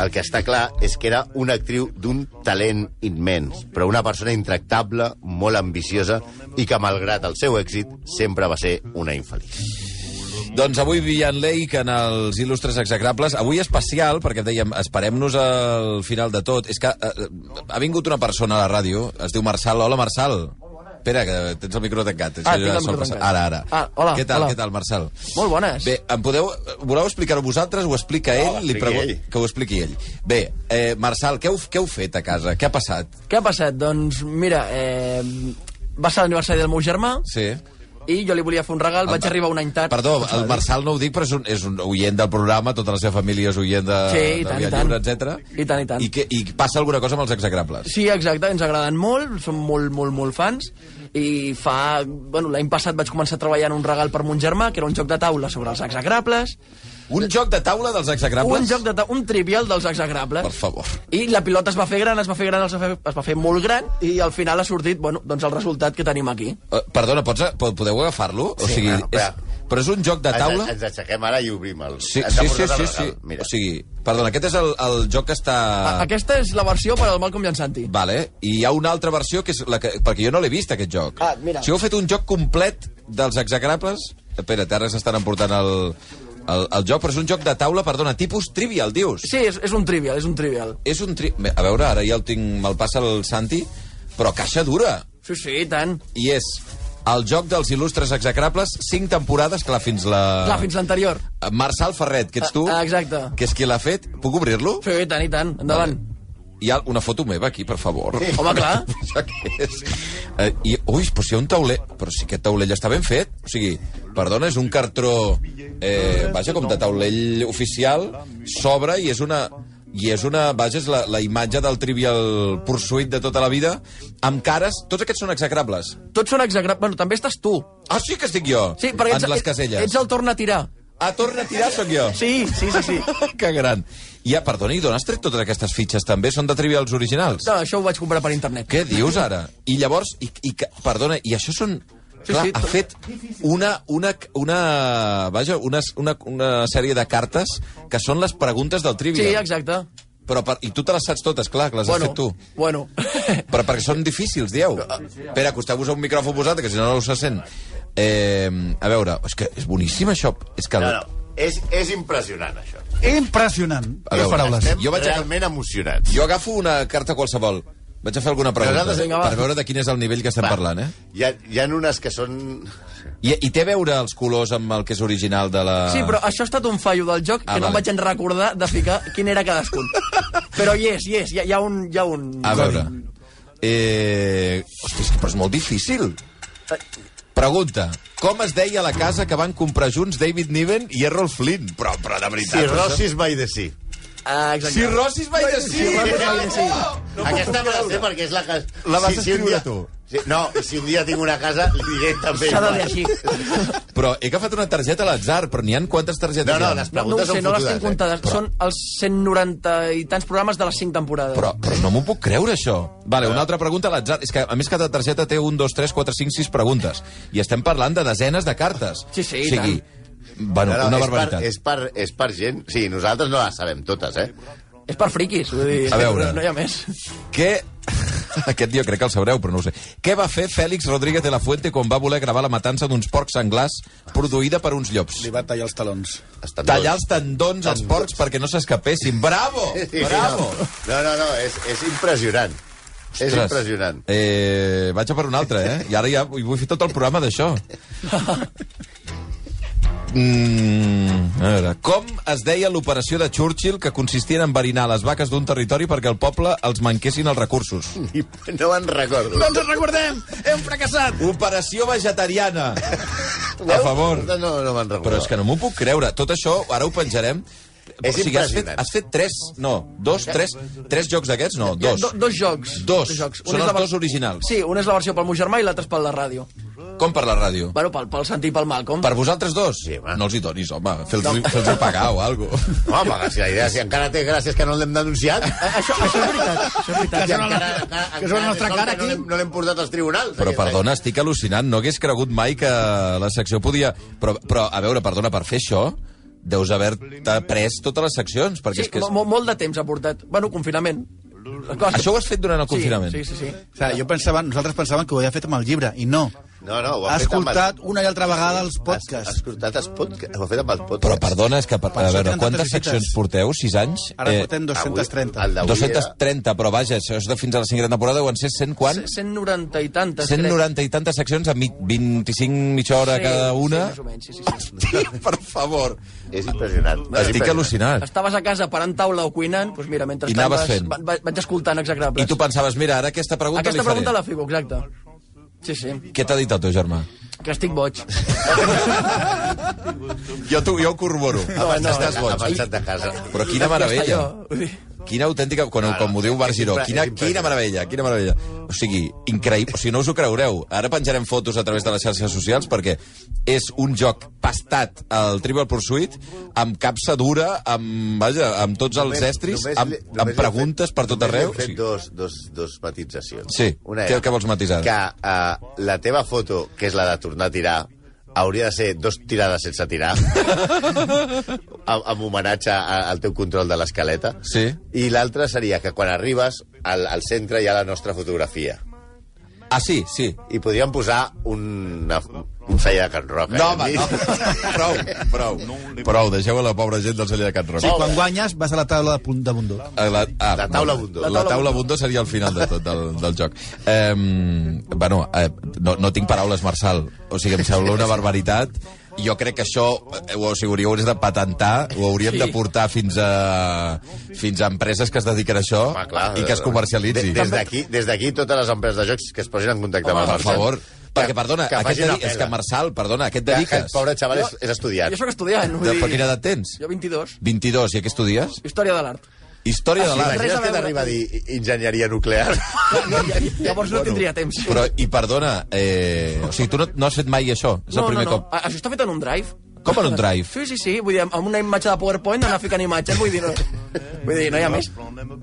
Speaker 5: El que està clar és que era una actriu d'un talent immens, però una persona intractable, molt ambiciosa i que, malgrat el seu èxit, sempre va ser una infeliç.
Speaker 4: Doncs avui Vivian Lake en els Il·lustres Execrables. Avui especial, perquè dèiem, esperem-nos al final de tot. És que eh, eh, ha vingut una persona a la ràdio, es diu Marçal. Hola, Marçal. Espera, que tens el micro tancat.
Speaker 7: Ah,
Speaker 4: Això
Speaker 7: tinc
Speaker 4: ja
Speaker 7: el
Speaker 4: sol
Speaker 7: micro
Speaker 4: passar.
Speaker 7: tancat.
Speaker 4: Ara, ara.
Speaker 7: Ah, hola,
Speaker 4: Què tal,
Speaker 7: hola.
Speaker 4: què tal, Marçal?
Speaker 7: Molt bones.
Speaker 4: Bé, em podeu, voleu explicar-ho vosaltres? Ho explica ell?
Speaker 5: ho
Speaker 4: Li
Speaker 5: expliqui
Speaker 4: pregu-
Speaker 5: ell.
Speaker 4: Que ho expliqui ell. Bé, eh, Marçal, què heu, què heu fet a casa? Què ha passat?
Speaker 7: Què ha passat? Doncs, mira, eh, va ser l'aniversari del meu germà
Speaker 4: Sí.
Speaker 7: i jo li volia fer un regal, vaig arribar un any tard.
Speaker 4: Perdó, el Marçal no ho dic, però és un, és un oient del programa, tota la seva família és oient de,
Speaker 7: Sí, i
Speaker 4: de
Speaker 7: tant,
Speaker 4: Via
Speaker 7: i tant.
Speaker 4: Lliure, etc.
Speaker 7: I tant, i tant.
Speaker 4: I, que, I passa alguna cosa amb els execrables.
Speaker 7: Sí, exacte, ens agraden molt, som molt, molt, molt fans i fa... Bueno, l'any passat vaig començar a treballar en un regal per mon germà, que era un joc de taula sobre els exagrables,
Speaker 4: Un joc de taula dels execrables?
Speaker 7: Eh, un joc de taula, un trivial dels exagrables.
Speaker 4: Per favor.
Speaker 7: I la pilota es va fer gran, es va fer gran, es va fer, es va fer molt gran i al final ha sortit, bueno, doncs el resultat que tenim aquí.
Speaker 4: Eh, perdona, pots, po- podeu agafar-lo? o
Speaker 5: Sí,
Speaker 4: sigui,
Speaker 5: bueno, però-
Speaker 4: és, però és un joc de taula...
Speaker 5: Ens, ens aixequem ara i obrim el...
Speaker 4: Sí,
Speaker 5: ens ha
Speaker 4: sí, sí,
Speaker 5: portat
Speaker 4: sí,
Speaker 5: el
Speaker 4: sí.
Speaker 5: regal. Mira.
Speaker 4: O sigui, perdona, aquest és el, el joc que està...
Speaker 7: A- Aquesta és la versió per al Malcolm i en Santi.
Speaker 4: Vale, i hi ha una altra versió que és la que... Perquè jo no l'he vist, aquest joc.
Speaker 7: Ah, mira.
Speaker 4: Si heu fet un joc complet dels execrables... Espera, ara s'estan emportant el, el, el joc, però és un joc de taula, perdona, tipus trivial, dius?
Speaker 7: Sí, és, és un trivial, és un trivial.
Speaker 4: És un tri... Bé, A veure, ara ja el tinc... Me'l passa el Santi, però caixa dura.
Speaker 7: Sí, sí, i tant.
Speaker 4: I és el joc dels il·lustres execrables, cinc temporades, clar, fins la...
Speaker 7: Clar, fins l'anterior.
Speaker 4: Marçal Ferret, que ets tu,
Speaker 7: Ah, ah, exacte.
Speaker 4: que és qui l'ha fet. Puc obrir-lo?
Speaker 7: Sí, i tant, i tant. Endavant. Vale.
Speaker 4: Hi ha una foto meva aquí, per favor. Sí.
Speaker 7: Home, clar.
Speaker 4: Això què és? Eh, i, ui, però si hi ha un tauler... Però si aquest taulell està ben fet. O sigui, perdona, és un cartró... Eh, vaja, com de taulell oficial, s'obre i és una... I és una... Vaja, és la, la imatge del Trivial Pursuit de tota la vida, amb cares... Tots aquests són execrables.
Speaker 7: Tots són exagrables. Bueno, també estàs tu.
Speaker 4: Ah, sí que estic jo!
Speaker 7: Sí, perquè ets,
Speaker 4: en les caselles.
Speaker 7: ets el torn a tirar.
Speaker 4: Ah, torna a tirar, sóc jo.
Speaker 7: Sí, sí, sí, sí.
Speaker 4: que gran. Ja, perdona, i d'on has tret totes aquestes fitxes també? Són de Trivials originals?
Speaker 7: No, això ho vaig comprar per internet.
Speaker 4: Què dius ara? I llavors, i, i, que- perdona, i això són...
Speaker 7: Sí,
Speaker 4: Clar,
Speaker 7: sí,
Speaker 4: ha
Speaker 7: tot-
Speaker 4: fet una, una, una, vaja, una, una, una sèrie de cartes que són les preguntes del
Speaker 7: Sí,
Speaker 4: Trivial.
Speaker 7: exacte.
Speaker 4: Però per, I tu te les saps totes, clar, que les has
Speaker 7: Bueno,
Speaker 4: fet tu.
Speaker 7: bueno.
Speaker 4: Però perquè són difícils, dieu. Espera, acosteu-vos a un micròfon posat, que si no no se sent. Eh, a veure, és que és boníssim això. És que...
Speaker 5: No, no, és, és impressionant, això.
Speaker 6: Impressionant.
Speaker 4: A veure,
Speaker 6: Dues paraules.
Speaker 4: estem- Jo
Speaker 5: Jo
Speaker 4: vaig
Speaker 5: vaig
Speaker 4: agafar-
Speaker 5: realment emocionat.
Speaker 4: Jo agafo una carta qualsevol. Vaig a fer alguna pregunta
Speaker 5: Nosaltres-
Speaker 7: Vinga, va.
Speaker 4: per veure de quin és el nivell que estem
Speaker 5: Va.
Speaker 4: parlant, eh?
Speaker 5: Hi ha, hi ha unes que són...
Speaker 4: I, I té a veure els colors amb el que és original de la...
Speaker 7: Sí, però això ha estat un fallo del joc que
Speaker 4: Ah,
Speaker 7: no
Speaker 4: vale.
Speaker 7: em vaig en recordar de ficar quin era cadascun. Però hi és, hi és, hi ha, hi ha un... Hi ha un...
Speaker 4: A veure... Eh... Hosti, és que però és molt difícil. Pregunta. Com es deia la casa que van comprar junts David Niven i Errol Flynn? Però, però de veritat...
Speaker 5: Si Rossis by the sea.
Speaker 7: Ah, exacte.
Speaker 4: Si Rossi es va dir sí!
Speaker 5: Aquesta me la sé perquè és la que...
Speaker 4: La vas escriure tu.
Speaker 5: Si, no, i si un dia tinc una casa, li diré també.
Speaker 7: S'ha de dir
Speaker 5: igual.
Speaker 7: així.
Speaker 4: Però he agafat una targeta a l'atzar, però n'hi han quantes targetes
Speaker 5: No,
Speaker 4: hi
Speaker 5: no,
Speaker 4: ha?
Speaker 5: les
Speaker 7: No, no ho
Speaker 5: preguntes
Speaker 7: sé,
Speaker 5: són
Speaker 7: no les
Speaker 5: fotudes,
Speaker 7: tinc
Speaker 5: eh?
Speaker 7: comptades. Són els 190 i tants programes de les 5 temporades.
Speaker 4: Però, però no m'ho puc creure, això. Vale,
Speaker 5: Ah.
Speaker 4: una altra pregunta a l'atzar. És que, a més, cada targeta té un, dos, tres, quatre, cinc, sis preguntes. I estem parlant de desenes de cartes.
Speaker 7: Sí,
Speaker 4: O
Speaker 7: sí, i
Speaker 4: sigui, bueno,
Speaker 5: No, no,
Speaker 4: una
Speaker 5: és
Speaker 4: barbaritat.
Speaker 5: Per, és, per, és per gent... Sí, nosaltres no les sabem totes, eh?
Speaker 7: És per friquis, vull dir,
Speaker 4: A veure.
Speaker 7: no hi ha més.
Speaker 4: Què... Aquest dia crec que el sabreu, però no ho sé. Què va fer Fèlix Rodríguez de la Fuente quan va voler gravar la matança d'uns porcs senglars produïda per uns llops?
Speaker 6: Li va tallar els talons.
Speaker 5: Estan
Speaker 4: Tallar
Speaker 5: dos.
Speaker 4: els tendons als porcs perquè no s'escapessin. Bravo!
Speaker 5: Sí,
Speaker 4: Bravo!
Speaker 5: No, no, no, és, és impressionant. És
Speaker 4: Ostres.
Speaker 5: impressionant.
Speaker 4: Eh, vaig a per un altre, eh? I ara ja vull vull fer tot el programa d'això. Mm, a veure, com es deia l'operació de Churchill que consistia en enverinar les vaques d'un territori perquè el poble els manquessin els recursos?
Speaker 5: I no me'n recordo.
Speaker 6: No ens en recordem! Hem fracassat!
Speaker 4: Operació vegetariana! A favor.
Speaker 5: No, no, no me'n recordo.
Speaker 4: Però és que no m'ho puc creure. Tot això, ara ho penjarem.
Speaker 5: És
Speaker 4: has, fet,
Speaker 5: impressionant.
Speaker 4: has fet tres, no, dos, tres, tres jocs d'aquests? No,
Speaker 7: Hi ha
Speaker 4: dos.
Speaker 7: Do, dos jocs.
Speaker 4: Dos.
Speaker 7: jocs.
Speaker 4: Són
Speaker 7: és
Speaker 4: els
Speaker 7: la ver-
Speaker 4: dos originals.
Speaker 7: Sí, un és la versió pel meu germà i l'altre és per la ràdio.
Speaker 4: Com per la ràdio?
Speaker 7: Bueno, pel, pel Santi i pel Malcolm.
Speaker 4: Per vosaltres dos?
Speaker 5: Sí, home.
Speaker 4: no els hi donis, home. Fes-los fes pagar o alguna
Speaker 5: Home, que si la idea, si encara té gràcies que no l'hem denunciat...
Speaker 7: Això, això és veritat. Això és veritat.
Speaker 6: Que són la- que són la nostra
Speaker 5: sol
Speaker 6: cara
Speaker 5: que no
Speaker 6: aquí.
Speaker 5: l'hem- No l'hem portat als tribunals.
Speaker 4: Però,
Speaker 5: aquest
Speaker 4: perdona, estic al·lucinant. No hagués cregut mai que la secció podia... Però, però a veure, perdona, per fer això deus haver-te pres totes les seccions, perquè
Speaker 7: Sí,
Speaker 4: és que...
Speaker 7: mo, molt de temps ha portat. Bueno, confinament. Cosa.
Speaker 4: Això ho has fet durant el confinament?
Speaker 7: Sí, sí, sí.
Speaker 6: O sigui, jo pensava, nosaltres pensàvem que ho havia fet amb el llibre, i no.
Speaker 5: any. No, no, ho ha
Speaker 6: Ha
Speaker 5: fet amb el-
Speaker 6: escoltat una i altra vegada
Speaker 5: Has,
Speaker 6: els
Speaker 5: has
Speaker 6: podcasts.
Speaker 5: escoltat els podcasts. Ho ha fet amb els podcasts.
Speaker 4: Però, perdona, és que... Per,
Speaker 6: Per
Speaker 4: a
Speaker 6: això
Speaker 4: veure,
Speaker 6: tenen
Speaker 4: quantes
Speaker 6: tantes
Speaker 4: seccions
Speaker 6: visites.
Speaker 4: porteu? 6 anys? Eh,
Speaker 6: Ara en portem 230.
Speaker 5: Avui, el d'avui
Speaker 4: 230, però vaja, això és de fins a la cinquena temporada, deuen ser 100 quan?
Speaker 7: 190 i tantes,
Speaker 4: 190 i tantes seccions a mi- 25 mitja hora
Speaker 7: crec.
Speaker 4: cada una.
Speaker 7: Sí, més o menys, sí, sí, sí.
Speaker 4: per favor.
Speaker 5: era- És impressionant.
Speaker 4: Estic
Speaker 5: impressionant.
Speaker 4: al·lucinant.
Speaker 7: Estaves a casa parant taula o cuinant, doncs mira, mentre
Speaker 4: Ah. I anaves
Speaker 7: vas,
Speaker 4: fent.
Speaker 7: va- va- vaig escoltant execrables.
Speaker 4: I tu pensaves, mira, ara aquesta pregunta
Speaker 7: Aquesta
Speaker 4: li faré.
Speaker 7: pregunta la fico, exacte. Sí, sí,
Speaker 4: Què t'ha dit el teu germà?
Speaker 7: que estic boig.
Speaker 4: Jo, tu, jo ho corroboro.
Speaker 5: Ha pensat,
Speaker 4: Estàs
Speaker 5: de-
Speaker 4: boig.
Speaker 5: ha pensat de casa.
Speaker 4: Però quina
Speaker 7: Ja
Speaker 4: meravella.
Speaker 7: està, jo. Vull dir,
Speaker 4: Quina autèntica... Quan,
Speaker 5: No, no,
Speaker 4: com ho diu
Speaker 5: és
Speaker 4: Bar Giró.
Speaker 5: impre-
Speaker 4: Quina,
Speaker 5: és impressionant.
Speaker 4: quina meravella, quina meravella. O sigui, increïble. O sigui, no us ho creureu. Ara penjarem fotos a través de les xarxes socials perquè és un joc pastat al Trivial Pursuit amb capsa dura, amb, vaja, amb tots els estris,
Speaker 5: només
Speaker 4: amb,
Speaker 5: li- només li
Speaker 4: amb
Speaker 5: he
Speaker 4: preguntes
Speaker 5: fet-
Speaker 4: per tot
Speaker 5: només li he
Speaker 4: arreu. O
Speaker 5: fet
Speaker 4: sigui,
Speaker 5: dos, dos, dos matitzacions.
Speaker 4: Sí, què- què vols matisar?
Speaker 5: Que uh, la teva foto, que és la de tornar a tirar, hauria de ser dos tirades sense tirar, amb, amb homenatge a- al teu control de l'escaleta.
Speaker 4: Sí.
Speaker 5: I l'altra seria que quan arribes al, al centre hi ha la nostra fotografia.
Speaker 4: ah, sí, sí.
Speaker 5: I podríem posar una, un celler de Can Roca.
Speaker 4: No, home,
Speaker 5: eh?
Speaker 4: no. Prou, prou. Prou, deixeu a la pobra gent del celler de Can Roca.
Speaker 6: Sí, quan guanyes vas a la taula de punt de bundó.
Speaker 4: Eh, La, ah,
Speaker 5: La taula
Speaker 4: no,
Speaker 5: Bundó.
Speaker 4: La taula, Bundó seria el final de tot del, del joc. Eh, bueno, eh, no, no tinc paraules, Marçal. O sigui, em sembla una barbaritat. I Jo crec que això, eh, o sigui, hauríeu de patentar, ho hauríem
Speaker 7: Sí.
Speaker 4: de portar fins a, fins a empreses que es dediquen a això
Speaker 5: Home, clar, eh,
Speaker 4: i que es comercialitzi.
Speaker 5: de- Des d'aquí, des d'aquí totes les empreses de jocs que es posin en contacte amb el
Speaker 4: per
Speaker 5: Marcel.
Speaker 4: favor. Perquè, perdona,
Speaker 5: que
Speaker 4: aquest
Speaker 5: faci una
Speaker 4: dedi- és
Speaker 5: pela.
Speaker 4: que Marçal, perdona, aquest
Speaker 5: Que- que
Speaker 4: dediques.
Speaker 5: El pobre xaval és, és estudiant.
Speaker 7: Jo sóc estudiant. vull
Speaker 4: De,
Speaker 7: dir,
Speaker 4: per quina edat tens?
Speaker 7: Jo 22.
Speaker 4: 22, i a què estudies?
Speaker 7: Història de l'art.
Speaker 4: Història de l'art.
Speaker 7: res
Speaker 5: Ah,
Speaker 7: a
Speaker 5: Imagina't que
Speaker 7: veure.
Speaker 5: t'arriba a dir enginyeria nuclear.
Speaker 7: Llavors no tindria temps.
Speaker 4: Però, i perdona, eh, o sigui, tu no, no has fet mai això, és el primer
Speaker 7: no, no.
Speaker 4: cop.
Speaker 7: A- Això està fet en un drive.
Speaker 4: Com en un drive?
Speaker 7: Sí, sí, sí. Vull dir, amb una imatge de PowerPoint anar ficant imatges, vull dir, no, vull dir, no hi ha més.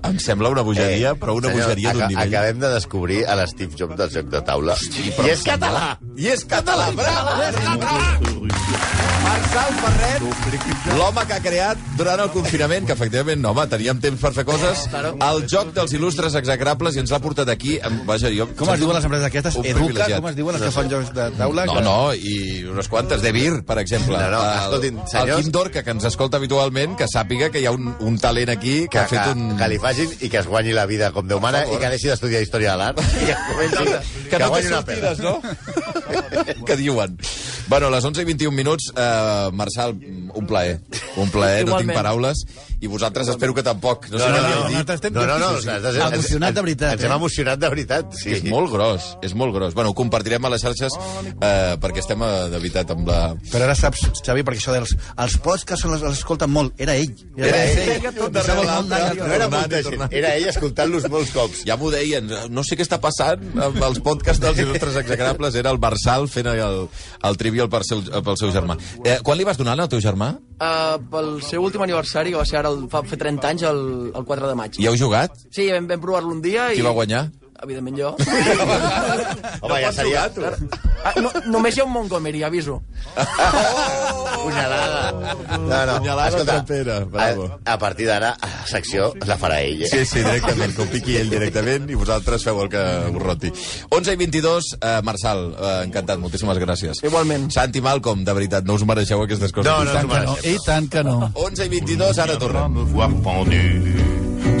Speaker 4: Em sembla una
Speaker 6: Eh,
Speaker 4: bogeria, però una bogeria d'un
Speaker 5: aca-
Speaker 4: nivell.
Speaker 5: Acabem de descobrir a l'Steve Jobs del joc de taula. I és català!
Speaker 4: Ah, I és català, bravo! És català! Marçal Ferret, l'home que ha creat durant el confinament, que efectivament, no, home, teníem temps per fer coses,
Speaker 7: Eh,
Speaker 4: el joc dels il·lustres execrables i ens l'ha portat aquí. Em- Vaja, jo...
Speaker 6: Com es diuen les empreses aquestes?
Speaker 4: Un
Speaker 6: Educa?
Speaker 4: privilegiat.
Speaker 6: Com es diuen les que fan jocs de taula?
Speaker 4: No, no, i unes quantes de Vir, per exemple.
Speaker 5: No, no,
Speaker 4: El-
Speaker 5: escoltin,
Speaker 4: El
Speaker 5: senyors-
Speaker 4: Quim Dorca, que ens escolta habitualment, que sàpiga que hi ha un, un talent aquí que,
Speaker 5: Que,
Speaker 4: ha fet un...
Speaker 5: que li facin i que es guanyi la vida com Déu mana i que deixi d'estudiar història de l'art. I que, comenci, que,
Speaker 4: que no té
Speaker 5: guanyi una pena.
Speaker 4: sortides, no? que diuen. Bueno, a les 11 i 21 minuts, eh, Marçal, un plaer. Un plaer, no tinc
Speaker 7: Igualment.
Speaker 4: paraules. I vosaltres espero que tampoc. No, sé
Speaker 5: No,
Speaker 4: què
Speaker 5: no,
Speaker 4: heu
Speaker 5: no,
Speaker 4: dit.
Speaker 5: no,
Speaker 6: estem
Speaker 5: no, no, no,
Speaker 6: difícil.
Speaker 5: ens- ens-
Speaker 6: Emocionat de veritat,
Speaker 5: Ens hem
Speaker 6: eh?
Speaker 5: emocionat de veritat, sí.
Speaker 4: És molt gros, és molt gros. Bueno, ho compartirem a les xarxes eh, perquè estem, eh, de veritat, amb la...
Speaker 6: Però ara saps, Xavi, perquè això dels... Els pots que se les- els escolten molt. Era ell.
Speaker 4: Era ell.
Speaker 7: Era
Speaker 6: Ho
Speaker 7: tot
Speaker 6: saben
Speaker 4: darrere
Speaker 6: molt
Speaker 4: l'altre.
Speaker 6: d'allà.
Speaker 5: No era
Speaker 4: Tornant i
Speaker 5: molta gent,
Speaker 4: tornant.
Speaker 5: era ell escoltant-los molts cops.
Speaker 4: Ja m'ho deien, no sé què està passant amb els podcasts dels il·lustres execrables. Era el Marçal fent el, el trivial pel seu, pel seu germà. Eh, quan li vas donar al teu germà?
Speaker 7: Uh, pel seu últim aniversari, que va ser ara el, fa, fa 30 anys, el, el 4 de maig.
Speaker 4: Hi heu jugat?
Speaker 7: Sí, vam, vam provar-lo un dia i...
Speaker 4: Qui va guanyar?
Speaker 7: Evidentment jo.
Speaker 5: Home, ja seria
Speaker 7: Ah, no, només hi ha un Montgomery, aviso.
Speaker 5: punyalada. Oh! No, no.
Speaker 4: Punyalada
Speaker 5: Escolta,
Speaker 4: trapera, bravo.
Speaker 5: A, a partir d'ara, a la secció la farà ell. Eh?
Speaker 4: Sí, sí, directament, que ho piqui ell directament i vosaltres feu el que us roti. 11 i 22, eh, Marçal, eh, encantat, moltíssimes gràcies.
Speaker 7: Igualment.
Speaker 4: Santi Malcolm, de veritat, no us mereixeu aquestes coses.
Speaker 5: No, no, no, no, no.
Speaker 6: I tant que no.
Speaker 4: 11 i 22, ara
Speaker 3: viendra
Speaker 4: tornem.
Speaker 3: me voir pendu,